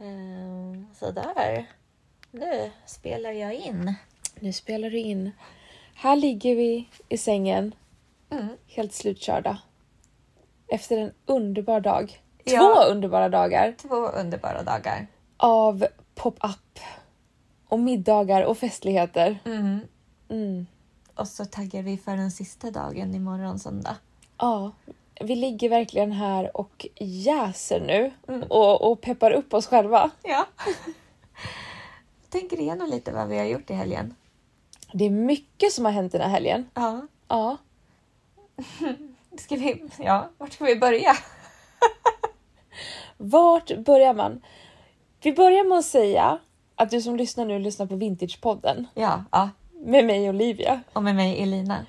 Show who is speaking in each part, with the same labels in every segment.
Speaker 1: Ehm, Sådär. Nu spelar jag in.
Speaker 2: Nu spelar du in. Här ligger vi i sängen,
Speaker 1: Mm,
Speaker 2: helt slutkörda. Efter en underbar dag.
Speaker 1: Ja.
Speaker 2: Två underbara dagar
Speaker 1: Två underbara dagar.
Speaker 2: av pop-up och middagar och festligheter. Mm.
Speaker 1: Och så taggar vi för den sista dagen imorgon söndag.
Speaker 2: Ja, vi ligger verkligen här och jäser nu och, och peppar upp oss själva.
Speaker 1: Ja. Tänker igenom lite vad vi har gjort i helgen.
Speaker 2: Det är mycket som har hänt den här helgen.
Speaker 1: Ja.
Speaker 2: Ja,
Speaker 1: Ska vi... Ja, vart ska vi börja?
Speaker 2: vart börjar man? Vi börjar med att säga att du som lyssnar nu lyssnar på Vintagepodden
Speaker 1: Ja, ja.
Speaker 2: med mig Olivia.
Speaker 1: Och med mig Elina.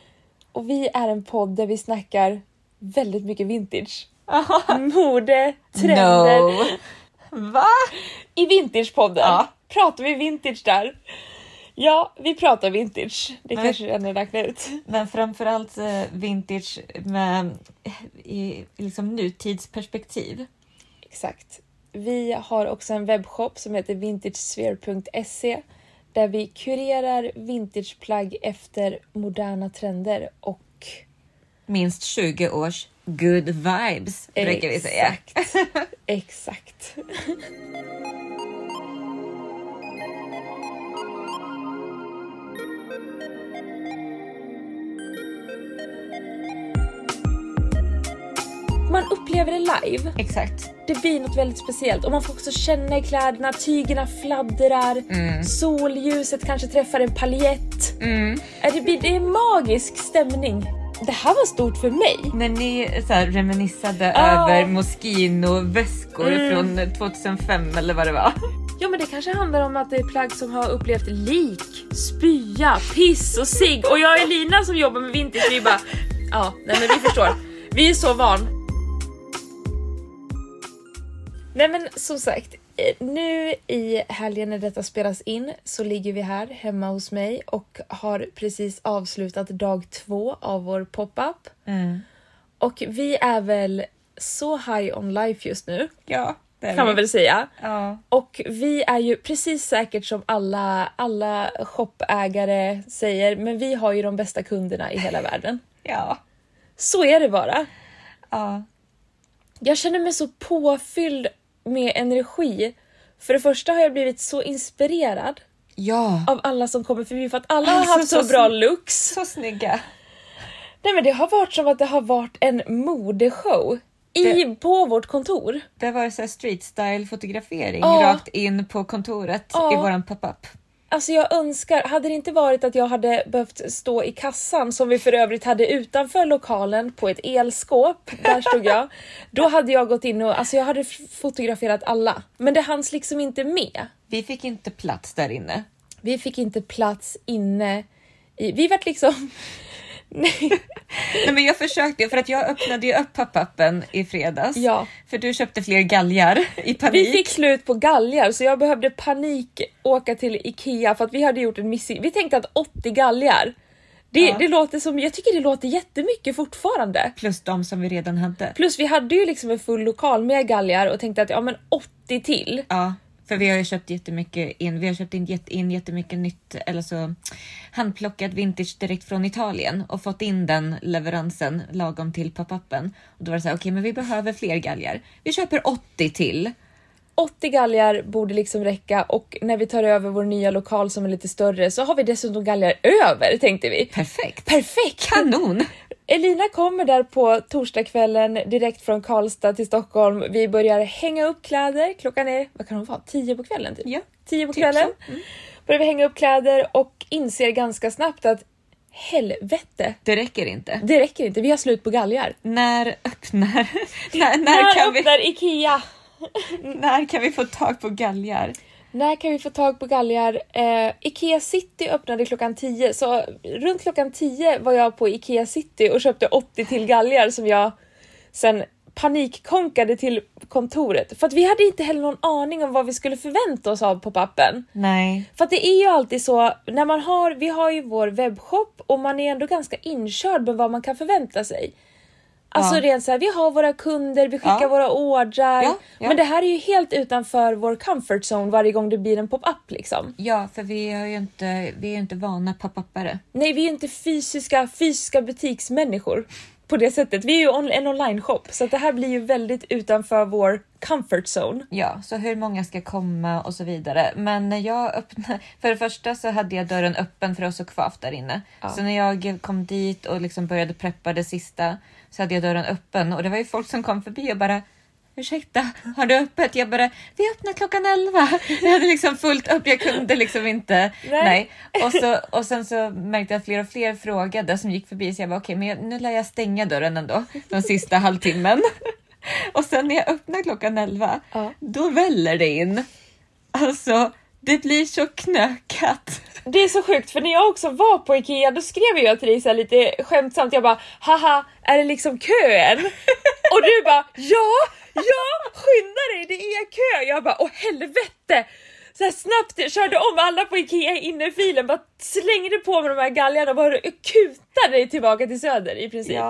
Speaker 2: Och vi är en podd där vi snackar väldigt mycket vintage. Mode, trender.
Speaker 1: No. Va?
Speaker 2: I vintagepodden
Speaker 1: Ja.
Speaker 2: pratar vi vintage där. Ja, vi pratar vintage. Det
Speaker 1: Men-
Speaker 2: kanske du redan räknat ut.
Speaker 1: Men framförallt eh, vintage med i liksom nutidsperspektiv.
Speaker 2: Exakt. Vi har också en webbshop som heter vintagesphere.se där vi kurerar vintageplagg efter moderna trender och
Speaker 1: Minst 20 års good vibes brukar vi säga.
Speaker 2: Exakt. Exakt. Man upplever det live.
Speaker 1: Exakt.
Speaker 2: Det blir något väldigt speciellt och man får också känna i kläderna, tygerna fladdrar,
Speaker 1: Mm.
Speaker 2: solljuset kanske träffar en paljett. Äh, Det, blir, det är magisk stämning. Det här var stort för mig.
Speaker 1: När ni så här, reminissade
Speaker 2: Ja.
Speaker 1: över Moschino-väskor från 2005 eller vad det var.
Speaker 2: Ja men det kanske handlar om att det är plagg som har upplevt lik, spya, piss och cigg och jag och Elina som jobbar med vintage vi bara ja, nej men vi förstår. Vi är så van. Nej men som sagt, eh, nu i helgen när detta spelas in så ligger vi här hemma hos mig och har precis avslutat dag två av vår pop-up.
Speaker 1: Mm.
Speaker 2: Och vi är väl så high on life just nu
Speaker 1: Ja, det är
Speaker 2: kan man
Speaker 1: vi.
Speaker 2: väl säga.
Speaker 1: Ja.
Speaker 2: Och vi är ju precis säkert som alla, alla shopägare säger, men vi har ju de bästa kunderna i hela världen.
Speaker 1: Ja.
Speaker 2: Så är det bara.
Speaker 1: ja.
Speaker 2: Jag känner mig så påfylld med energi. För det första har jag blivit så inspirerad
Speaker 1: Ja.
Speaker 2: av alla som kommer förbi för att alla har
Speaker 1: Alltså,
Speaker 2: haft så
Speaker 1: så sn-
Speaker 2: bra looks.
Speaker 1: Så snygga.
Speaker 2: Nej men det har varit som att det har varit en modeshow i, på vårt kontor.
Speaker 1: Det var så här street style fotografering
Speaker 2: Ja.
Speaker 1: rakt in på kontoret
Speaker 2: Ja.
Speaker 1: i våran pop-up.
Speaker 2: Alltså jag önskar, hade det inte varit att jag hade behövt stå i kassan som vi för övrigt hade utanför lokalen på ett elskåp, där stod jag. Då hade jag gått in och, alltså jag hade f- fotograferat alla. Men det hanns liksom inte med.
Speaker 1: Vi fick inte plats där inne.
Speaker 2: Vi fick inte plats inne i, vi vart liksom... Nej.
Speaker 1: Nej, men jag försökte för att jag öppnade ju upp pop-upen i fredags.
Speaker 2: Ja.
Speaker 1: För du köpte fler galgar i panik.
Speaker 2: Vi fick slut på galgar så jag behövde panik åka till Ikea för att vi hade gjort en miss. Vi tänkte att 80 galgar, det,
Speaker 1: Ja.
Speaker 2: det låter som, jag tycker det låter jättemycket fortfarande.
Speaker 1: Plus de som vi redan hade.
Speaker 2: Plus vi hade ju liksom en full lokal med galgar och tänkte att ja men 80 till.
Speaker 1: Ja, för vi har ju köpt jättemycket in. Vi har köpt in, jätte- in jättemycket nytt, eller så handplockat vintage direkt från Italien och fått in den leveransen lagom till pop-upen. Och då var det så här, okej, men vi behöver fler galgar. Vi köper 80 till.
Speaker 2: 80 galgar borde liksom räcka och när vi tar över vår nya lokal som är lite större så har vi dessutom galgar över tänkte vi.
Speaker 1: Perfekt!
Speaker 2: Perfekt!
Speaker 1: Kanon!
Speaker 2: Elina kommer där på torsdagskvällen direkt från Karlstad till Stockholm. Vi börjar hänga upp kläder. Klockan är, vad kan hon vara, 10 på kvällen? Typ.
Speaker 1: Ja,
Speaker 2: 10 på
Speaker 1: typ
Speaker 2: kvällen.
Speaker 1: så.
Speaker 2: Börjar vi hänga upp kläder och inser ganska snabbt att helvete,
Speaker 1: Det räcker inte.
Speaker 2: det räcker inte. Vi har slut på galgar.
Speaker 1: När öppnar... när, när,
Speaker 2: När
Speaker 1: kan vi,
Speaker 2: öppnar Ikea?
Speaker 1: när kan vi få tag på galgar?
Speaker 2: När kan vi få tag på galgar? Eh, Ikea City öppnade klockan 10 så runt klockan 10 var jag på Ikea City och köpte 80 till galgar som jag sen panikkonkade till kontoret för att vi hade inte heller någon aning om vad vi skulle förvänta oss av pop-upen.
Speaker 1: Nej.
Speaker 2: För att det är ju alltid så när man har, vi har ju vår webbshop och man är ändå ganska inkörd med vad man kan förvänta sig. Alltså
Speaker 1: Ja.
Speaker 2: rent så här, vi har våra kunder, vi skickar
Speaker 1: Ja.
Speaker 2: våra ordrar.
Speaker 1: Ja, ja.
Speaker 2: Men det här är ju helt utanför vår comfort zone varje gång det blir en pop-up liksom.
Speaker 1: Ja, för vi är ju inte, vi är ju inte vana pappappare.
Speaker 2: Nej, vi är ju inte fysiska, fysiska butiksmänniskor på det sättet. Vi är ju on- en online-shop så att det här blir ju väldigt utanför vår comfort zone.
Speaker 1: Ja, så hur många ska komma och så vidare. Men när jag öppnade, för det första så hade jag dörren öppen för oss och kvaff där inne. Så när jag kom dit och liksom började preppa det sista så hade jag dörren öppen och det var ju folk som kom förbi och bara Ursäkta, har du öppet? Jag bara, vi öppnar klockan 11. Jag hade liksom fullt upp, jag kunde liksom inte.
Speaker 2: Nej.
Speaker 1: Nej. Och, så, och sen så märkte jag att fler och fler frågade som gick förbi så jag bara, okej, men jag, nu lär jag stänga dörren ändå den sista halvtimmen. Och sen när jag öppnar klockan 11,
Speaker 2: Ja.
Speaker 1: då väller det in. Alltså, det blir så knökat.
Speaker 2: Det är så sjukt för när jag också var på Ikea då skrev jag till dig så här lite skämtsamt, jag bara haha är det liksom kö än? Och du bara ja, ja skynda dig det är kö! Jag bara åh helvete! Så här snabbt körde om alla på Ikea inne i filen, bara slängde på med de här galgarna och bara kutade dig tillbaka till söder i princip.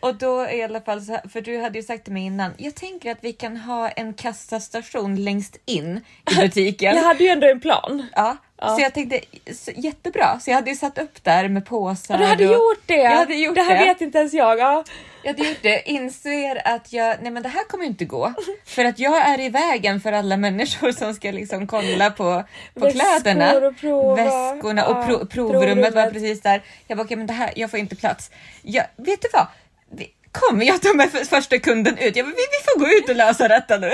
Speaker 1: Och då i alla fall, så här, för du hade ju sagt till mig innan, jag tänker att vi kan ha en kassastation längst in i butiken.
Speaker 2: Jag hade ju ändå en plan.
Speaker 1: Ja. Så jag tänkte så, jättebra, så jag hade ju satt upp där med påsar.
Speaker 2: Du hade
Speaker 1: och-
Speaker 2: gjort det!
Speaker 1: Jag hade gjort
Speaker 2: det här
Speaker 1: det.
Speaker 2: vet inte ens jag. Ja.
Speaker 1: Jag hade gjort det, inser att jag, nej men det här kommer ju inte gå. För att jag är i vägen för alla människor som ska liksom kolla på, på
Speaker 2: Väskor
Speaker 1: kläderna.
Speaker 2: och prova.
Speaker 1: Väskorna och
Speaker 2: Ja,
Speaker 1: pro, provrummet, var
Speaker 2: provrummet.
Speaker 1: precis där. Jag bara, okej men det här, jag får inte plats. Jag, vet du vad? Vi, kom, jag tar med för- första kunden ut. Jag bara, vi, vi får gå ut och lösa detta nu.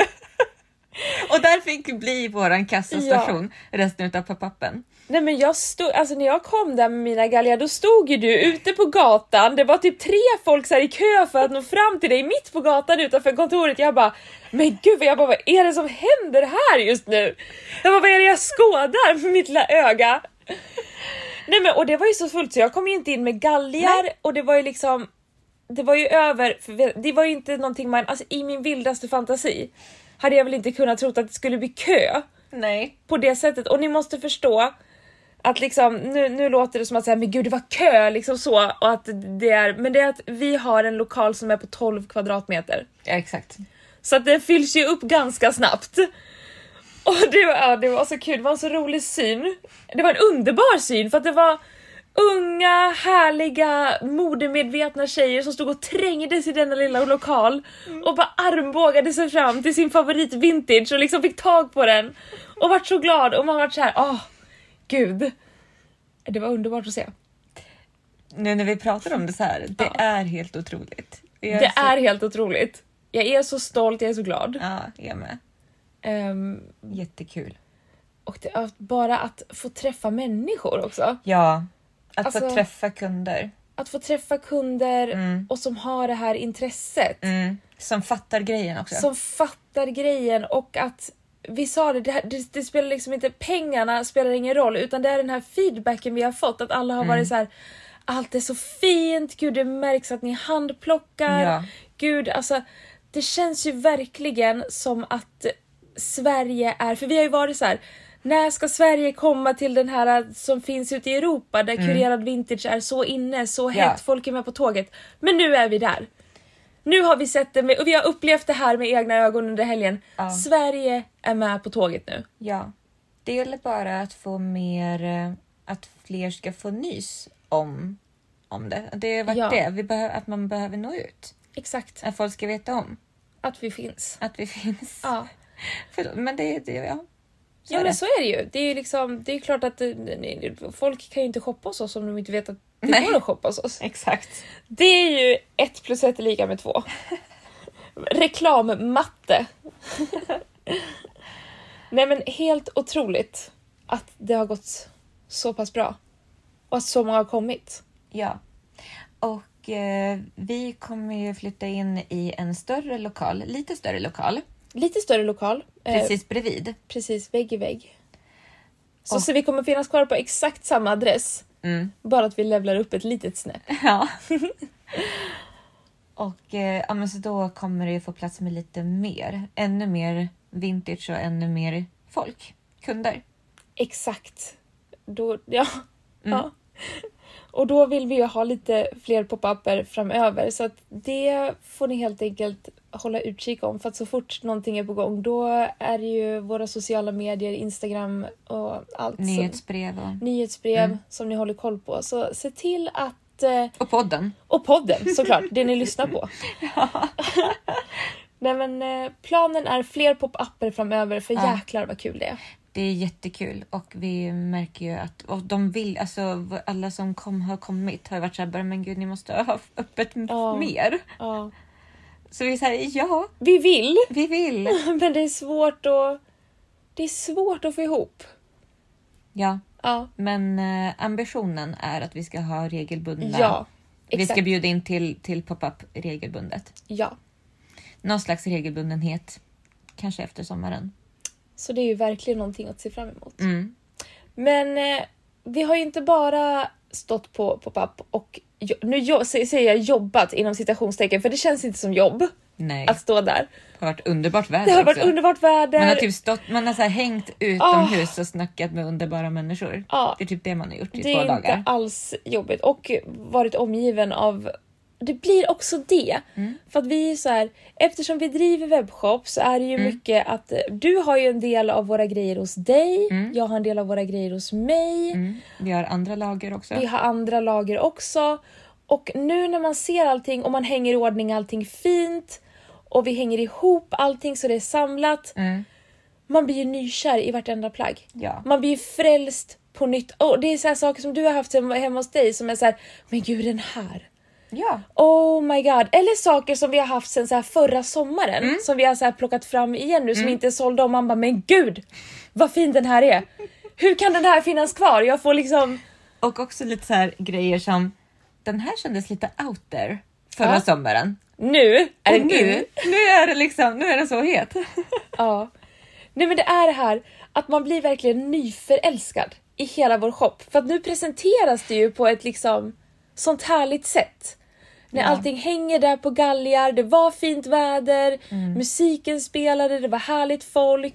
Speaker 1: och där fick bli våran kassastation resten av pappappen.
Speaker 2: Nej men jag stod, alltså när jag kom där med mina galgar då stod ju du ute på gatan, det var typ tre folk så här i kö för att nå fram till dig mitt på gatan utanför kontoret. Jag bara, men gud vad jag bara, vad är det som händer här just nu? Jag bara, vad är det jag skådar med mitt lilla öga? Nej men och det var ju så fullt så jag kom ju inte in med galgar och det var ju liksom, det var ju över, för vi- det var ju inte någonting man, alltså i min vildaste fantasi hade jag väl inte kunnat tro att det skulle bli kö
Speaker 1: Nej.
Speaker 2: på det sättet. Och ni måste förstå att liksom, nu, nu låter det som att säga, men gud det var kö liksom så och att det är, men det är att vi har en lokal som är på 12 kvadratmeter.
Speaker 1: Ja, exakt.
Speaker 2: Så att den fylls ju upp ganska snabbt. Och det var, ja, det var så kul, det var en så rolig syn. Det var en underbar syn för att det var unga, härliga, modemedvetna tjejer som stod och trängdes i denna lilla lokal och bara armbågade sig fram till sin favorit vintage och liksom fick tag på den och vart så glad och man vart så här, åh, gud. Det var underbart att se.
Speaker 1: Nu när vi pratar om det så här, det
Speaker 2: Ja.
Speaker 1: är helt otroligt. Jag
Speaker 2: Det
Speaker 1: så-
Speaker 2: är helt otroligt. Jag är så stolt, jag är så glad.
Speaker 1: Ja, jag med.
Speaker 2: Ehm,
Speaker 1: Jättekul.
Speaker 2: Och det, att bara att få träffa människor också.
Speaker 1: Ja, att få
Speaker 2: Alltså-
Speaker 1: träffa kunder
Speaker 2: Att få träffa kunder
Speaker 1: Mm.
Speaker 2: och som har det här intresset.
Speaker 1: som fattar grejen också.
Speaker 2: Som fattar grejen och att vi sa det, det, här, det, det spelar liksom inte, pengarna spelar ingen roll utan det är den här feedbacken vi har fått att alla har
Speaker 1: Mm.
Speaker 2: varit så här. Allt är så fint, gud det märks att ni handplockar.
Speaker 1: Ja.
Speaker 2: Gud alltså det känns ju verkligen som att Sverige är, för vi har ju varit så här. När ska Sverige komma till den här äh, som finns ute i Europa där kurerad vintage är så inne, så hett,
Speaker 1: Mm. Ja.
Speaker 2: folk är med på tåget. Men nu är vi där. Nu har vi sett det med, och vi har upplevt det här med egna ögon under helgen.
Speaker 1: Ja.
Speaker 2: Sverige är med på tåget nu.
Speaker 1: Ja. Det gäller bara att få mer, eh, att fler ska få nys om, om det. Det har varit
Speaker 2: Ja.
Speaker 1: det, vi behö- att man behöver nå ut.
Speaker 2: Exakt.
Speaker 1: Att folk ska veta om
Speaker 2: Att vi finns.
Speaker 1: att vi finns.
Speaker 2: Ja,
Speaker 1: Förlåt, men det, det ja. Så
Speaker 2: ja
Speaker 1: är
Speaker 2: men
Speaker 1: det.
Speaker 2: så är det ju. Det är ju liksom, det är ju klart att eh, ni- folk kan ju inte shoppa hos oss om de inte vet att det
Speaker 1: Nej.
Speaker 2: går att shoppa hos oss.
Speaker 1: Exakt.
Speaker 2: Det är ju ett plus ett är lika med två. Reklammatte. Nej men helt otroligt att det har gått så pass bra. Och att så många har kommit.
Speaker 1: Ja. Och eh, vi kommer ju flytta in i en större lokal, lite större lokal,
Speaker 2: Lite större lokal. eh,
Speaker 1: precis bredvid.
Speaker 2: precis vägg i vägg. Så,
Speaker 1: Och-
Speaker 2: så vi kommer finnas kvar på exakt samma adress.
Speaker 1: Mm.
Speaker 2: Bara att vi levlar upp ett litet snäpp.
Speaker 1: Ja. och eh, ja, men så då kommer det ju få plats med lite mer. Ännu mer vintage och ännu mer folk. Kunder.
Speaker 2: Exakt. Då, ja. ja. Och då vill vi ju ha lite fler pop-upper framöver så att det får ni helt enkelt hålla utkik om för att så fort någonting är på gång då är det ju våra sociala medier, Instagram och allt. som-
Speaker 1: Nyhetsbrev och,
Speaker 2: nyhetsbrev som ni håller koll på. Så se till att... eh,
Speaker 1: och podden.
Speaker 2: Och podden såklart, det ni lyssnar på. Nej men eh, planen är fler pop-upper framöver för
Speaker 1: Ja.
Speaker 2: jäklar vad kul det är.
Speaker 1: Det är jättekul och vi märker ju att och de vill, alltså v- alla som kom, har kommit har ju varit så här, bara, men gud ni måste ha öppet m-
Speaker 2: Ja.
Speaker 1: mer.
Speaker 2: Ja.
Speaker 1: Så vi säger ja,
Speaker 2: Vi vill,
Speaker 1: vi vill.
Speaker 2: men det är svårt att... Det är svårt att få ihop.
Speaker 1: Ja,
Speaker 2: Ja,
Speaker 1: men eh, ambitionen är att vi ska ha regelbundna.
Speaker 2: ja
Speaker 1: vi
Speaker 2: exakt.
Speaker 1: ska bjuda in till, till pop-up regelbundet.
Speaker 2: Ja.
Speaker 1: Någon slags regelbundenhet. Kanske efter sommaren.
Speaker 2: Så det är ju verkligen någonting att se fram emot.
Speaker 1: Mm.
Speaker 2: Men eh, vi har ju inte bara stått på pop-up och jo- nu jo- sä- säger jag jobbat inom citationstecken för det känns inte som jobb
Speaker 1: Nej,
Speaker 2: att stå där.
Speaker 1: det har varit underbart väder
Speaker 2: Alltså, Det har varit
Speaker 1: också.
Speaker 2: underbart
Speaker 1: Man har
Speaker 2: väder.
Speaker 1: typ stått, man har så här hängt utomhus och snackat med underbara människor.
Speaker 2: Ja,
Speaker 1: Det är typ det man har gjort i
Speaker 2: Ah. det
Speaker 1: två
Speaker 2: är inte
Speaker 1: dagar.
Speaker 2: alls jobbigt och varit omgiven av det blir också det.
Speaker 1: Mm.
Speaker 2: För att vi är så här, eftersom vi driver webbshop så är det
Speaker 1: Mm.
Speaker 2: ju mycket att eh, du har ju en del av våra grejer hos dig, jag har en del av våra grejer hos mig.
Speaker 1: Mm. Vi har andra lager också.
Speaker 2: Vi har andra lager också. Och nu när man ser allting och man hänger i ordning allting fint och vi hänger ihop allting så det är samlat.
Speaker 1: Mm.
Speaker 2: Man blir ju nykär i vartenda plagg.
Speaker 1: Ja.
Speaker 2: Man blir ju frälst på nytt. Och det är så här saker som du har haft hemma hemma hos dig som är så här, men gud den här.
Speaker 1: ja.
Speaker 2: Oh my god. Eller saker som vi har haft sen så här förra sommaren som vi har så här plockat fram igen nu som inte är sålda och man bara, men gud vad fin den här är. Hur kan den här finnas kvar? Jag får liksom
Speaker 1: Och också lite så här grejer som den här kändes lite out there förra
Speaker 2: Ja.
Speaker 1: sommaren.
Speaker 2: nu är
Speaker 1: Och
Speaker 2: den in.
Speaker 1: nu, nu är det liksom, nu är den så het.
Speaker 2: Ja. Nej men det är det här att man blir verkligen nyförälskad i hela vår shop. För att nu presenteras det ju på ett liksom sånt härligt sätt. När allting hänger där på galgar, det var fint väder, musiken spelade, det var härligt folk.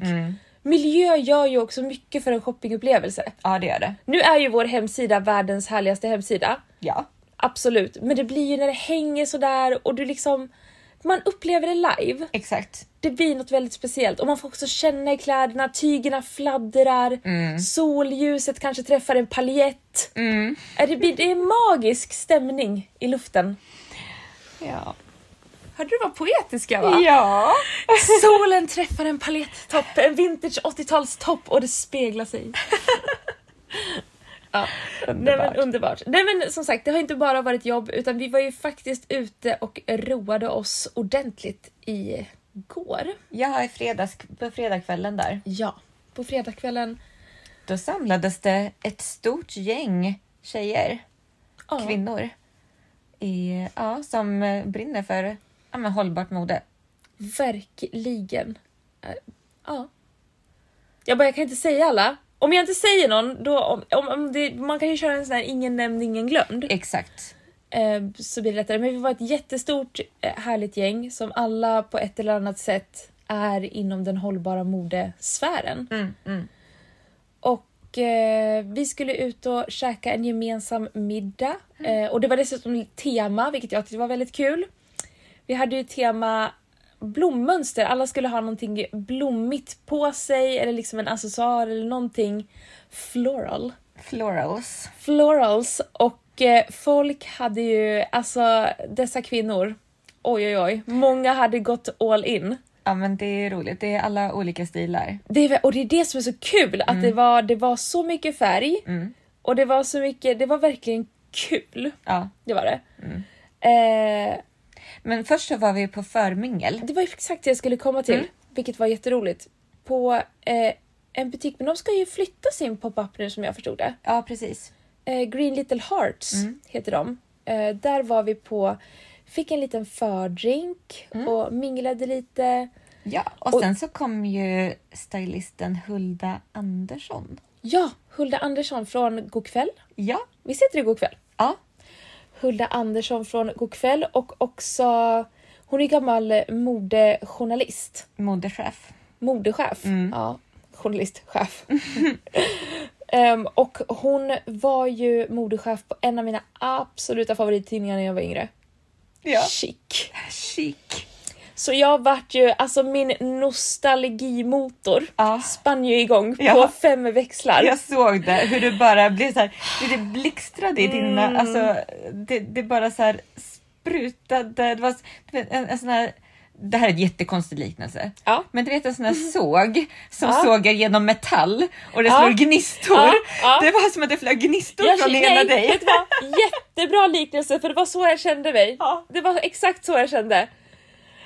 Speaker 2: Miljö gör ju också mycket för en shoppingupplevelse.
Speaker 1: Ja, det gör det.
Speaker 2: Nu är ju vår hemsida världens härligaste hemsida.
Speaker 1: Ja.
Speaker 2: Absolut, men det blir ju när det hänger sådär och du liksom... Man upplever det live.
Speaker 1: Exakt.
Speaker 2: Det blir något väldigt speciellt och man får också känna i kläderna, tygerna fladdrar, solljuset kanske träffar en paljett.
Speaker 1: Mm.
Speaker 2: Äh, Det, blir, det är en magisk stämning i luften.
Speaker 1: Ja.
Speaker 2: Hörde du vad poetisk jag var?
Speaker 1: ja.
Speaker 2: Solen träffar en paljettopp, en vintage 80-talstopp och det speglar sig. ja. Nej, men,
Speaker 1: Underbart.
Speaker 2: underbart. Nej men som sagt, det har inte bara varit jobb utan vi var ju faktiskt ute och roade oss ordentligt igår.
Speaker 1: Ja, i fredags, på fredagskvällen där.
Speaker 2: Ja. På fredagskvällen.
Speaker 1: Då samlades det ett stort gäng tjejer,
Speaker 2: Ja.
Speaker 1: kvinnor, i, ja, som eh, brinner för ja, men hållbart mode.
Speaker 2: Verkligen. Eh, Ja. Jag bara, jag kan inte säga alla. Om jag inte säger någon, då, om, om, om det, man kan ju köra en sån här ingen nämnd, ingen glömd.
Speaker 1: Exakt.
Speaker 2: Eh, så blir det lättare. Men vi var ett jättestort eh, härligt gäng som alla på ett eller annat sätt är inom den hållbara modesfären.
Speaker 1: Mm, mm.
Speaker 2: Och eh, vi skulle ut och käka en gemensam middag. Eh, och det var dessutom tema, vilket jag tyckte var väldigt kul. Vi hade ju tema blommönster. Alla skulle ha någonting blommigt på sig eller liksom en accessoar eller någonting floral.
Speaker 1: Florals.
Speaker 2: Florals och eh, folk hade ju, alltså dessa kvinnor, oj oj oj, många hade gått all in.
Speaker 1: Ja, men det är roligt. Det är alla olika stilar.
Speaker 2: Det är, väl- och det är det som är så kul, att det, var, det var så mycket färg
Speaker 1: Mm.
Speaker 2: och det var så mycket, det var verkligen kul.
Speaker 1: Ja.
Speaker 2: Det var det. Eh,
Speaker 1: Men först så var vi på förmingel.
Speaker 2: det var exakt det jag skulle komma till,
Speaker 1: Mm.
Speaker 2: vilket var jätteroligt. På eh, en butik, men de ska ju flytta sin pop-up nu som jag förstod det.
Speaker 1: Ja, precis.
Speaker 2: Eh, Green Little Hearts heter de. Eh, där var vi på, fick en liten fördrink och minglade lite.
Speaker 1: Ja, och,
Speaker 2: Och-
Speaker 1: sen så kom ju stylisten Hulda Andersson.
Speaker 2: Ja, Hulda Andersson från Go'kväll.
Speaker 1: Ja.
Speaker 2: Visst heter det Go'kväll?
Speaker 1: Ja.
Speaker 2: Hulda Andersson från Go'kväll och också, hon är gammal modejournalist,
Speaker 1: Modechef. Mm.
Speaker 2: modechef. Ja, journalist, chef. Ehm, och hon var ju modechef på en av mina absoluta favorittidningar när jag var yngre.
Speaker 1: Ja.
Speaker 2: Chic.
Speaker 1: Chic.
Speaker 2: Så jag vart ju, alltså min nostalgimotor
Speaker 1: Ja.
Speaker 2: spann ju igång
Speaker 1: Ja.
Speaker 2: på fem växlar.
Speaker 1: Jag såg det, hur du bara blev så här, hur det blixtrade i dina,
Speaker 2: Mm.
Speaker 1: alltså det, det bara så här sprutade. Det var s- du vet, en, en sån här, det här är en jättekonstig liknelse.
Speaker 2: Ja.
Speaker 1: Men du vet en sån här såg som
Speaker 2: Mm. Ja.
Speaker 1: sågar genom metall och det
Speaker 2: Ja.
Speaker 1: slår gnistor.
Speaker 2: Ja, ja.
Speaker 1: Det var som att det flög gnistor från
Speaker 2: kände-
Speaker 1: hela
Speaker 2: nej,
Speaker 1: dig.
Speaker 2: Vet du vad? Jättebra liknelse för det var så jag kände mig.
Speaker 1: Ja.
Speaker 2: Det var exakt så jag kände.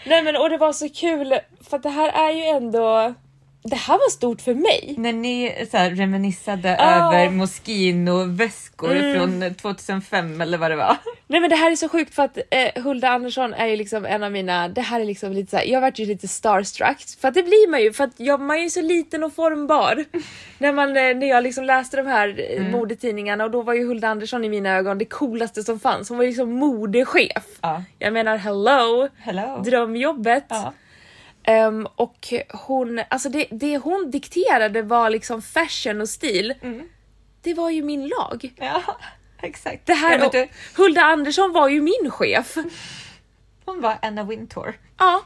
Speaker 2: Nej men och det var så kul för att det här är ju ändå, det här var stort för mig.
Speaker 1: När ni så här reminissade
Speaker 2: Ja. Mm.
Speaker 1: över Moschino-väskor från 2005 eller vad det var.
Speaker 2: Nej men det här är så sjukt för att eh, Hulda Andersson är ju liksom en av mina, det här är liksom lite såhär, jag vart ju lite starstruck för att det blir man ju för att jag, man är ju så liten och formbar. när, man, eh, när jag liksom läste de här eh,
Speaker 1: Mm.
Speaker 2: modetidningarna och då var ju Hulda Andersson i mina ögon det coolaste som fanns. Hon var ju liksom modechef.
Speaker 1: Ja.
Speaker 2: Jag menar hello!
Speaker 1: Hello.
Speaker 2: drömjobbet.
Speaker 1: Ja.
Speaker 2: Ehm, och hon, alltså det, det hon dikterade var liksom fashion och stil.
Speaker 1: Mm.
Speaker 2: Det var ju min lag.
Speaker 1: ja, exakt.
Speaker 2: Det här,
Speaker 1: ja, men du,
Speaker 2: och, Hulda Andersson var ju min chef.
Speaker 1: hon var Anna Wintour
Speaker 2: Ja,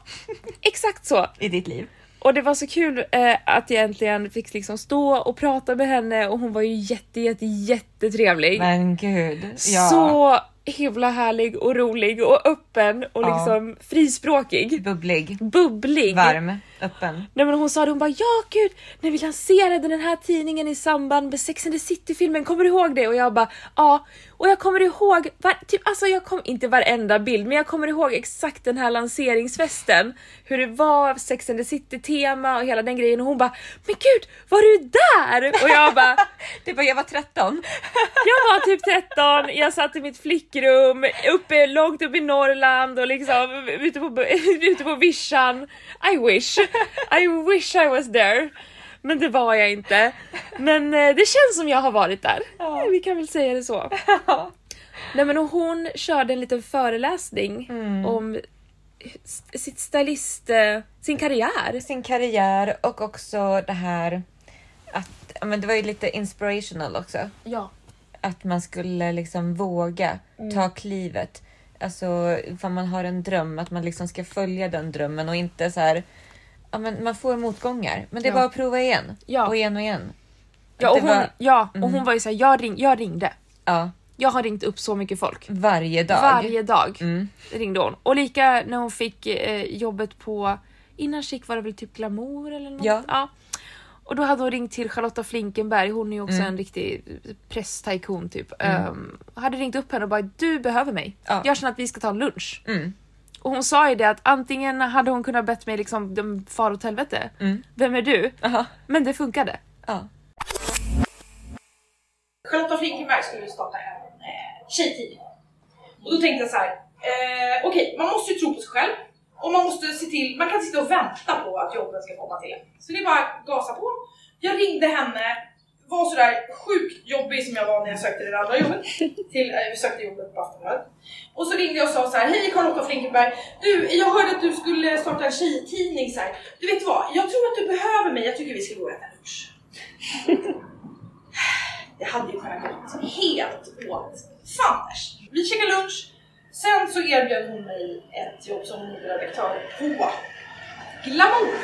Speaker 2: exakt så.
Speaker 1: i ditt liv.
Speaker 2: Och det var så kul eh, att jag äntligen fick liksom stå och prata med henne och hon var ju jätte, jätte, jättetrevlig.
Speaker 1: Men gud. Ja.
Speaker 2: Så himla härlig och rolig och öppen och
Speaker 1: Ja.
Speaker 2: liksom frispråkig.
Speaker 1: bubblig,
Speaker 2: Bubblig.
Speaker 1: varm, öppen.
Speaker 2: Nej men hon sa det, hon bara ja gud, när vi lanserade den här tidningen i samband med Sex and the City filmen, kommer du ihåg det? Och jag bara ja, och jag kommer ihåg, var, typ, alltså jag kom inte varenda bild, men jag kommer ihåg exakt den här lanseringsfesten, hur det var, Sex and the City tema och hela den grejen och hon bara men gud, var du där? Och jag bara
Speaker 1: Det var jag var 13.
Speaker 2: jag var typ 13, jag satt i mitt flickrum, uppe, långt upp i Norrland och liksom ute på, ute på vischan. I wish, I wish I was there. Men det var jag inte. Men eh, det känns som jag har varit där.
Speaker 1: Ja.
Speaker 2: Eh, Vi kan väl säga det så. Nej men och hon körde en liten föreläsning
Speaker 1: Mm.
Speaker 2: om s- sitt stylist, eh, sin karriär.
Speaker 1: Sin karriär och också det här att ja, men det var ju lite inspirational också.
Speaker 2: Ja.
Speaker 1: Att man skulle liksom våga
Speaker 2: Mm.
Speaker 1: ta klivet. Alltså ifall man har en dröm, att man liksom ska följa den drömmen och inte så här. Ja, men man får motgångar, men det är
Speaker 2: Ja.
Speaker 1: bara att prova igen
Speaker 2: Ja.
Speaker 1: och igen och igen.
Speaker 2: Ja och
Speaker 1: Det
Speaker 2: hon,
Speaker 1: var- Mm.
Speaker 2: ja, och hon var ju såhär, jag, ring, jag ringde.
Speaker 1: Ja,
Speaker 2: Jag har ringt upp så mycket folk.
Speaker 1: varje dag.
Speaker 2: Varje dag
Speaker 1: Mm.
Speaker 2: ringde hon. Och lika när hon fick eh, jobbet på, innan Chic var det väl typ Glamour eller något?
Speaker 1: Ja.
Speaker 2: Och då hade hon ringt till Charlotta Flinkenberg, hon är ju också
Speaker 1: Mm.
Speaker 2: en riktig presstajkon typ. Ehm, hade ringt upp henne och bara du behöver mig.
Speaker 1: Ja.
Speaker 2: Jag känner att vi ska ta en lunch.
Speaker 1: Mm.
Speaker 2: Och hon sa ju det att antingen hade hon kunnat bett mig liksom de far åt helvete.
Speaker 1: Mm.
Speaker 2: Vem är du?
Speaker 1: Aha.
Speaker 2: Men det funkade.
Speaker 1: Ja.
Speaker 3: Charlotta Flinkenberg skulle starta en eh, tjejtidning. Och då tänkte jag så här, eh, okej, man måste ju tro på sig själv och man måste se till, man kan sitta och vänta på att jobben ska komma till en. Så det är bara att gasa på. Jag ringde henne, var sådär sjukt jobbig som jag var när jag sökte det där andra jobbet. Till, eh, jag sökte jobbet på Aftonbladet. Och så ringde jag och sa så här, hej Charlotta Flinkenberg, du, jag hörde att du skulle starta en tjejtidning så här. Du vet vad, jag tror att du behöver mig, jag tycker vi ska gå och äta lunch. Det hade ju kunnat gått liksom helt åt fanders. Vi käkade lunch, sen så erbjöd hon mig ett jobb som moderedaktör på Glamour.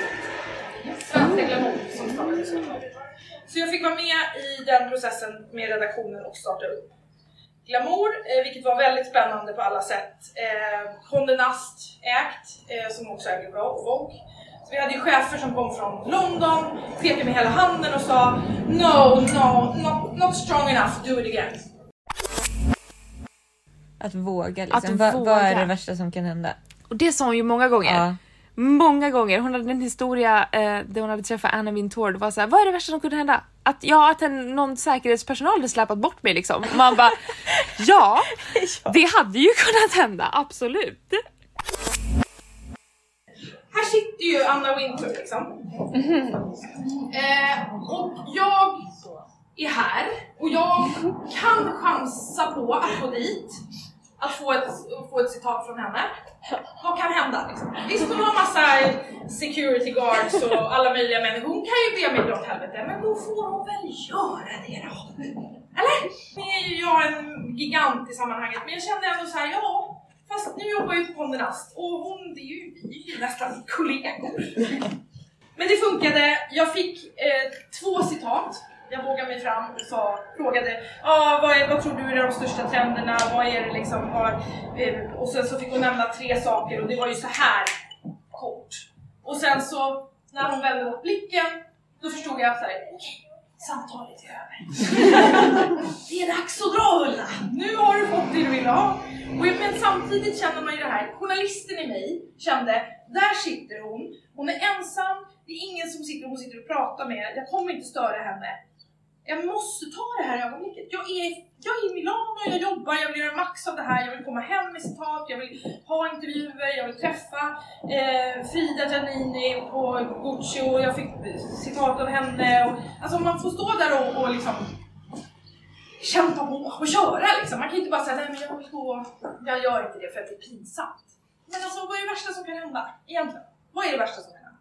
Speaker 3: Svenska Glamour som startade i Stockholm. Så jag fick vara med i den processen med redaktionen och starta upp Glamour, eh, vilket var väldigt spännande på alla sätt. Eh, Condé Nast ägt, eh, som också äger bra, och Vogue. Så vi hade ju chefer som kom från London, pekade med hela handen och sa No, no, not, not strong enough, do it again.
Speaker 1: Att våga liksom.
Speaker 2: Att
Speaker 1: Vad- Vad är
Speaker 2: våga.
Speaker 1: det värsta som kan hända?
Speaker 2: Och det sa hon ju många gånger.
Speaker 1: Ja.
Speaker 2: Många gånger. Hon hade en historia eh, där hon hade träffat Anna Wintour. Det var såhär, vad är det värsta som kunde hända? Att, ja, att en, någon säkerhetspersonal hade släpat bort mig liksom. Man bara, ja, det hade ju kunnat hända, absolut.
Speaker 3: Här sitter ju Anna Wintour liksom. Eh, och jag är här och jag kan chansa på att gå dit. att få ett, att få ett citat från henne. Vad kan hända? Liksom? Visst kommer ha massa security guards och alla möjliga människor. Hon kan ju be mig dra åt helvete, men då får hon väl göra det då. Eller? Nu är ju jag en gigant i sammanhanget, men jag kände ändå så här, ja. Fast nu jobbar ju Ponne Rast och hon, det är ju, vi är ju nästan kollegor. Men det funkade. Jag fick eh, två citat. Jag vågade mig fram och sa, frågade ah, vad, är, vad tror du är de största trenderna? Vad är det liksom? Vad, eh, och sen så fick hon nämna tre saker och det var ju så här kort. Och sen så när hon vände mot blicken då förstod jag att så här, okej, samtalet är över. det är dags att dra Ulla! Nu har du fått det du ville ha. Och, men samtidigt känner man ju det här, journalisten i mig kände, där sitter hon hon är ensam, det är ingen som sitter, hon sitter och pratar med. Jag kommer inte störa henne. Jag måste ta det här ögonblicket. Jag är, jag är i Milano, jag jobbar, jag vill göra max av det här. Jag vill komma hem med citat, jag vill ha intervjuer, jag vill träffa eh, Frida Giannini och Gucci och jag fick citat av henne. Och, alltså man får stå där och, och liksom kämpa på och köra liksom. Man kan inte bara säga nej men jag vill gå, jag gör inte det för att det är pinsamt. Men alltså vad är det värsta som kan hända egentligen? Vad är det värsta som kan hända?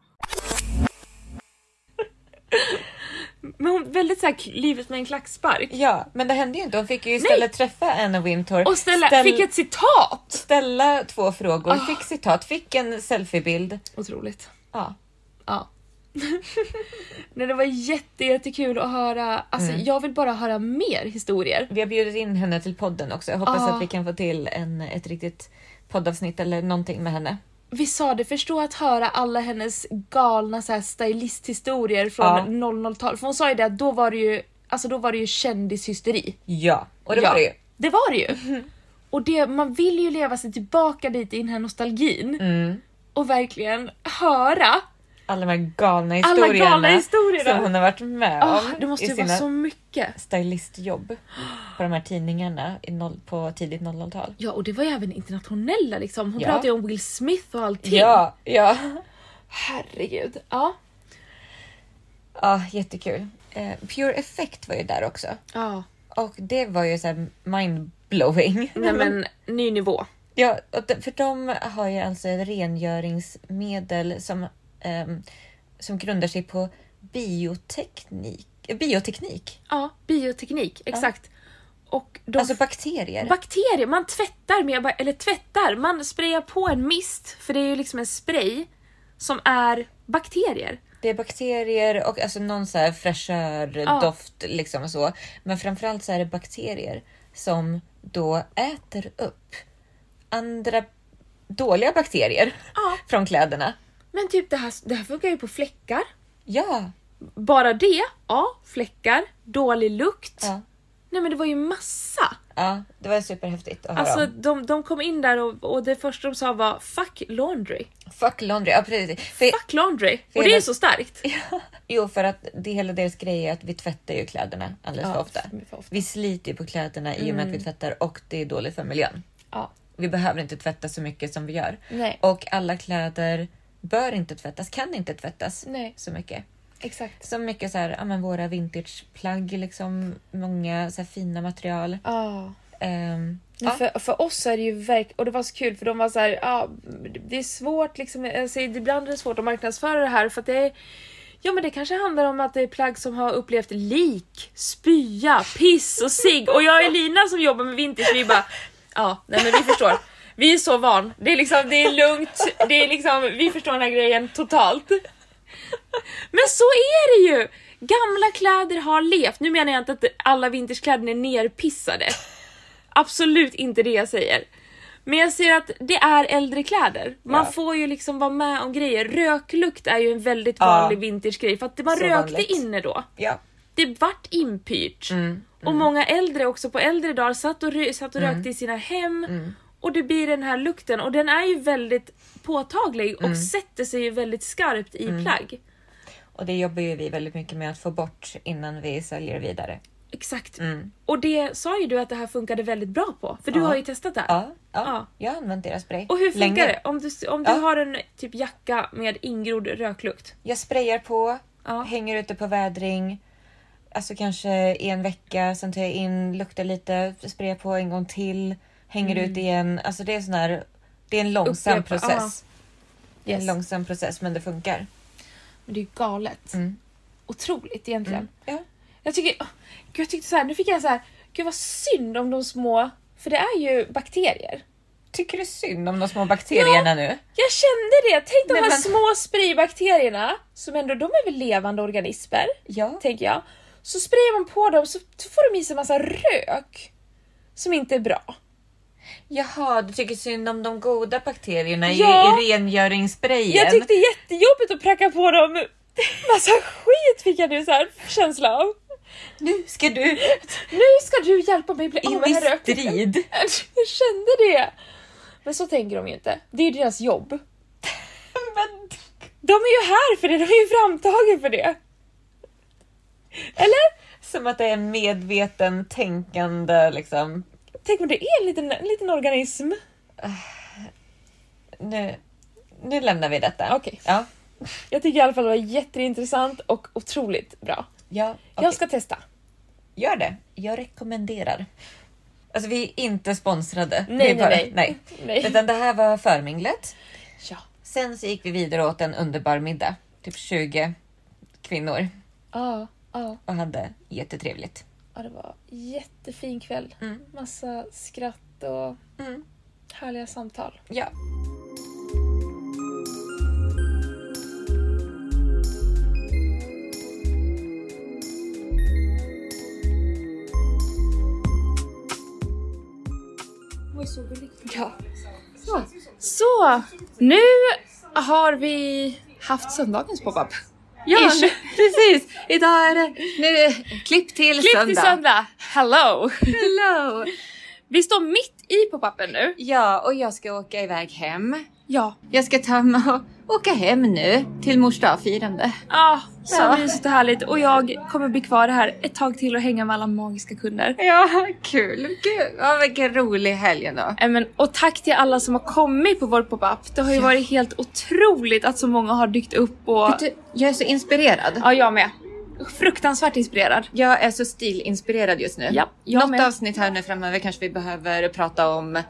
Speaker 2: Men hon, väldigt såhär livet med en klackspark.
Speaker 1: Ja, men det hände ju inte. Hon fick ju istället träffa Anna Wintour.
Speaker 2: Och ställa,
Speaker 1: ställ-
Speaker 2: fick ett Ah. citat!
Speaker 1: ställa två frågor, fick citat, fick en selfiebild.
Speaker 2: Otroligt.
Speaker 1: Ja.
Speaker 2: Ja. Nej, det var jätte, jättekul att höra. Alltså, Jag vill bara höra mer historier.
Speaker 1: Vi har bjudit in henne till podden också. Jag hoppas
Speaker 2: Ja.
Speaker 1: att vi kan få till en, ett riktigt poddavsnitt eller någonting med henne.
Speaker 2: Vi sa det, förstå att höra alla hennes galna så här, stylisthistorier från
Speaker 1: Ja.
Speaker 2: 00-talet. För hon sa ju det att då var det ju, alltså, då var det ju kändishysteri.
Speaker 1: Ja, och det var det ju. Mm-hmm.
Speaker 2: Det var det ju. Och det, man vill ju leva sig tillbaka dit i den här nostalgin
Speaker 1: Mm.
Speaker 2: och verkligen höra.
Speaker 1: Alla de här galna
Speaker 2: galna
Speaker 1: historierna,
Speaker 2: historierna.
Speaker 1: som hon har varit med
Speaker 2: Ah,
Speaker 1: om
Speaker 2: det måste
Speaker 1: i
Speaker 2: ju vara
Speaker 1: sina
Speaker 2: så mycket.
Speaker 1: stylistjobb på de här tidningarna i noll, på tidigt 00-tal.
Speaker 2: Ja, och det var ju även internationella liksom. Hon
Speaker 1: Ja.
Speaker 2: pratade ju om Will Smith och allting.
Speaker 1: Ja, ja.
Speaker 2: Herregud. Ja.
Speaker 1: ja jättekul. Eh, Pure Effect var ju där också
Speaker 2: ja.
Speaker 1: och det var ju så här mindblowing.
Speaker 2: Nej men ny nivå.
Speaker 1: Ja, och de- för de har ju alltså ett rengöringsmedel som, ehm, som grundar sig på bioteknik. eh, bioteknik.
Speaker 2: Ja, bioteknik. Exakt. Och de
Speaker 1: Alltså
Speaker 2: Eh.
Speaker 1: bakterier.
Speaker 2: bakterier, man tvättar med, eller tvättar, man sprayar på en mist för det är ju liksom en spray som är bakterier.
Speaker 1: det är bakterier och alltså någon så här fräschör,
Speaker 2: Ja.
Speaker 1: doft liksom så. Men framförallt så är det bakterier som då äter upp andra dåliga bakterier
Speaker 2: Ja.
Speaker 1: från kläderna.
Speaker 2: Men typ det här, det här funkar ju på fläckar.
Speaker 1: Ja,
Speaker 2: Bara det, ja, fläckar, dålig lukt.
Speaker 1: ja,
Speaker 2: Nej men det var ju massa.
Speaker 1: ja det var superhäftigt att höra
Speaker 2: Alltså
Speaker 1: om.
Speaker 2: de, de kom in där och, och det första de sa var fuck laundry.
Speaker 1: Fuck laundry. Ja, precis. För,
Speaker 2: Fuck laundry! Och
Speaker 1: Fel.
Speaker 2: det är så starkt.
Speaker 1: Jo, för att det hela deras grej är att vi tvättar ju kläderna alldeles
Speaker 2: Ja,
Speaker 1: för ofta.
Speaker 2: för ofta.
Speaker 1: Vi sliter ju på kläderna i och med att vi tvättar och det är dåligt för miljön.
Speaker 2: Ja.
Speaker 1: Vi behöver inte tvätta så mycket som vi gör.
Speaker 2: Nej.
Speaker 1: Och alla kläder bör inte tvättas, kan inte tvättas
Speaker 2: Nej.
Speaker 1: så mycket.
Speaker 2: Exakt.
Speaker 1: Så mycket så här, ja, men våra vintageplagg, liksom, många så här fina material.
Speaker 2: Ja.
Speaker 1: Ehm,
Speaker 2: Men
Speaker 1: ja,
Speaker 2: För, för oss är det ju verkligen, och det var så kul för de var så här, ja, det är svårt liksom, alltså, ibland är det svårt att marknadsföra det här för att det är, ja men det kanske handlar om att det är plagg som har upplevt lik, spya, piss och sig och jag och Elina som jobbar med vintage vi bara, ja nej men vi förstår. Vi är så van, det är liksom, det är lugnt, det är liksom, vi förstår den här grejen totalt. Men så är det ju! Gamla kläder har levt. Nu menar jag inte att alla vinterskläder är nerpissade. Absolut inte det jag säger. Men jag ser att det är äldre kläder. Man
Speaker 1: Ja.
Speaker 2: får ju liksom vara med om grejer. Röklukt är ju en väldigt
Speaker 1: Ja.
Speaker 2: vanlig vintergrej för att det- man
Speaker 1: Så
Speaker 2: rökte
Speaker 1: vanligt. Mm,
Speaker 2: inne då.
Speaker 1: ja.
Speaker 2: Det vart inpyrt. Och många äldre också på äldre dagar satt och, rö- satt och
Speaker 1: Mm.
Speaker 2: rökte i sina hem. Och det blir den här lukten och den är ju väldigt påtaglig
Speaker 1: Mm.
Speaker 2: och sätter sig ju väldigt skarpt i plagg.
Speaker 1: Och det jobbar ju vi väldigt mycket med att få bort innan vi säljer vidare.
Speaker 2: Exakt.
Speaker 1: Mm.
Speaker 2: Och det sa ju du att det här funkade väldigt bra på, för du
Speaker 1: Ja.
Speaker 2: har ju testat det här.
Speaker 1: Ja, ja,
Speaker 2: Ja.
Speaker 1: jag har använt deras spray.
Speaker 2: Och hur funkar
Speaker 1: länge.
Speaker 2: det? Om du, om du
Speaker 1: Ja.
Speaker 2: har en typ jacka med ingrodd röklukt.
Speaker 1: Jag sprayar på,
Speaker 2: Ja.
Speaker 1: hänger ute på vädring. Alltså kanske i en vecka, sen tar jag in, luktar lite, sprayar på en gång till. hänger ut i en, alltså det är sån här, det är en långsam
Speaker 2: Mm. Upprepa,
Speaker 1: process. Det är en
Speaker 2: Yes.
Speaker 1: långsam process men det funkar.
Speaker 2: Men det är ju galet.
Speaker 1: Mm.
Speaker 2: Otroligt egentligen.
Speaker 1: Ja.
Speaker 2: Jag tycker, åh, gud, jag tyckte så här, nu fick jag så här, gud vad synd om de små, för det är ju bakterier.
Speaker 1: Tycker du synd om de små bakterierna nu?
Speaker 2: Jag kände det! Tänk de
Speaker 1: Nej,
Speaker 2: här
Speaker 1: men-
Speaker 2: små spraybakterierna, som ändå de är väl levande organismer,
Speaker 1: Ja.
Speaker 2: tänker jag. Så sprayar man på dem så så får de i sig massa rök som inte är bra.
Speaker 1: Jaha, du tycker synd om de goda bakterierna
Speaker 2: Ja.
Speaker 1: i, i rengöringssprayen?
Speaker 2: Jag tyckte jättejobbigt att pracka på dem massa skit fick jag nu så här känsla av.
Speaker 1: Nu ska du
Speaker 2: Nu ska du hjälpa mig bli av
Speaker 1: in
Speaker 2: med den
Speaker 1: i
Speaker 2: här röken.
Speaker 1: strid.
Speaker 2: Jag kände det! Men så tänker de ju inte. Det är ju deras jobb.
Speaker 1: Men
Speaker 2: De är ju här för det, de är ju framtagen för det. Eller?
Speaker 1: Som att det är en medveten tänkande liksom.
Speaker 2: Tänk om det är en liten, en liten organism.
Speaker 1: Nu, nu lämnar vi detta.
Speaker 2: Okej.
Speaker 1: Ja.
Speaker 2: Jag tycker i alla fall det var jätteintressant och otroligt bra.
Speaker 1: Ja, okej.
Speaker 2: Jag ska testa.
Speaker 1: Gör det. Jag rekommenderar. Alltså vi är inte sponsrade.
Speaker 2: Nej,
Speaker 1: Vi är
Speaker 2: nej,
Speaker 1: bara-
Speaker 2: nej. Nej.
Speaker 1: Utan det här var förminglet.
Speaker 2: Ja.
Speaker 1: Sen så gick vi vidare åt en underbar middag. Typ 20 kvinnor
Speaker 2: Ja, ja.
Speaker 1: och hade jättetrevligt.
Speaker 2: ja, det var jättefin kväll.
Speaker 1: Mm.
Speaker 2: Massa skratt och
Speaker 1: Mm.
Speaker 2: härliga samtal.
Speaker 1: Ja.
Speaker 2: Ja. Så. så, nu har vi haft söndagens pop-up.
Speaker 1: Ja,
Speaker 2: Ish.
Speaker 1: nu, precis. Idag är det nu, klipp till
Speaker 2: Klipp
Speaker 1: söndag.
Speaker 2: till söndag! Hello!
Speaker 1: Hello.
Speaker 2: Vi står mitt i pop-upen nu.
Speaker 1: Ja, och jag ska åka iväg hem.
Speaker 2: Ja.
Speaker 1: Jag ska ta mig och åka hem nu till mors dagfirande.
Speaker 2: Ah, så
Speaker 1: Ja.
Speaker 2: mysigt och härligt. Och jag kommer bli kvar här ett tag till och hänga med alla magiska kunder.
Speaker 1: Ja, kul. Gud, ja, vilken rolig helg ändå.
Speaker 2: Nej, Eh, Men, och tack till alla som har kommit på vår pop-up. Det har ju varit helt otroligt att så många har dykt upp och...
Speaker 1: Vet du, jag är så inspirerad.
Speaker 2: Ja, jag med. Fruktansvärt inspirerad.
Speaker 1: Jag är så stilinspirerad just nu.
Speaker 2: Ja, jag
Speaker 1: Något
Speaker 2: med.
Speaker 1: avsnitt här nu framöver kanske vi behöver prata om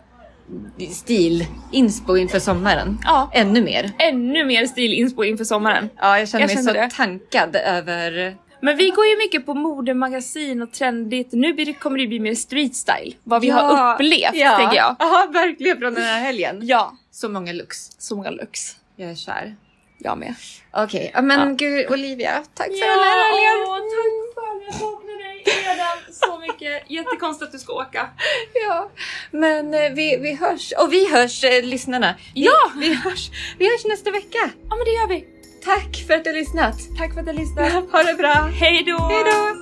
Speaker 1: stil, inspo inför sommaren.
Speaker 2: Ja.
Speaker 1: Ännu mer.
Speaker 2: Ännu mer stilinspo inför sommaren.
Speaker 1: Ja, jag känner
Speaker 2: Jag
Speaker 1: mig
Speaker 2: känner
Speaker 1: så
Speaker 2: det.
Speaker 1: tankad över...
Speaker 2: Men vi går ju mycket på modemagasin och trendigt. Nu blir det, kommer det bli mer street style. Vad vi har upplevt,
Speaker 1: ja.
Speaker 2: tänker jag.
Speaker 1: Ja, verkligen från den här helgen.
Speaker 2: Ja.
Speaker 1: Så många looks.
Speaker 2: Så många looks.
Speaker 1: Jag är kär.
Speaker 2: Jag med.
Speaker 1: Okej, ja, men
Speaker 2: Ja.
Speaker 1: gud Olivia, tack för den här helgen.
Speaker 2: åh, tack själv. Jag saknar dig redan så mycket. Jättekonstigt att du ska åka.
Speaker 1: Ja, men eh, vi, vi hörs. Och vi hörs, eh, lyssnarna. Vi,
Speaker 2: Ja!
Speaker 1: Vi hörs, vi hörs nästa vecka.
Speaker 2: Ja, men det gör vi.
Speaker 1: Tack för att du har lyssnat.
Speaker 2: Tack för att du lyssnade.
Speaker 1: Ha det bra.
Speaker 2: Hej då!
Speaker 1: Hej då!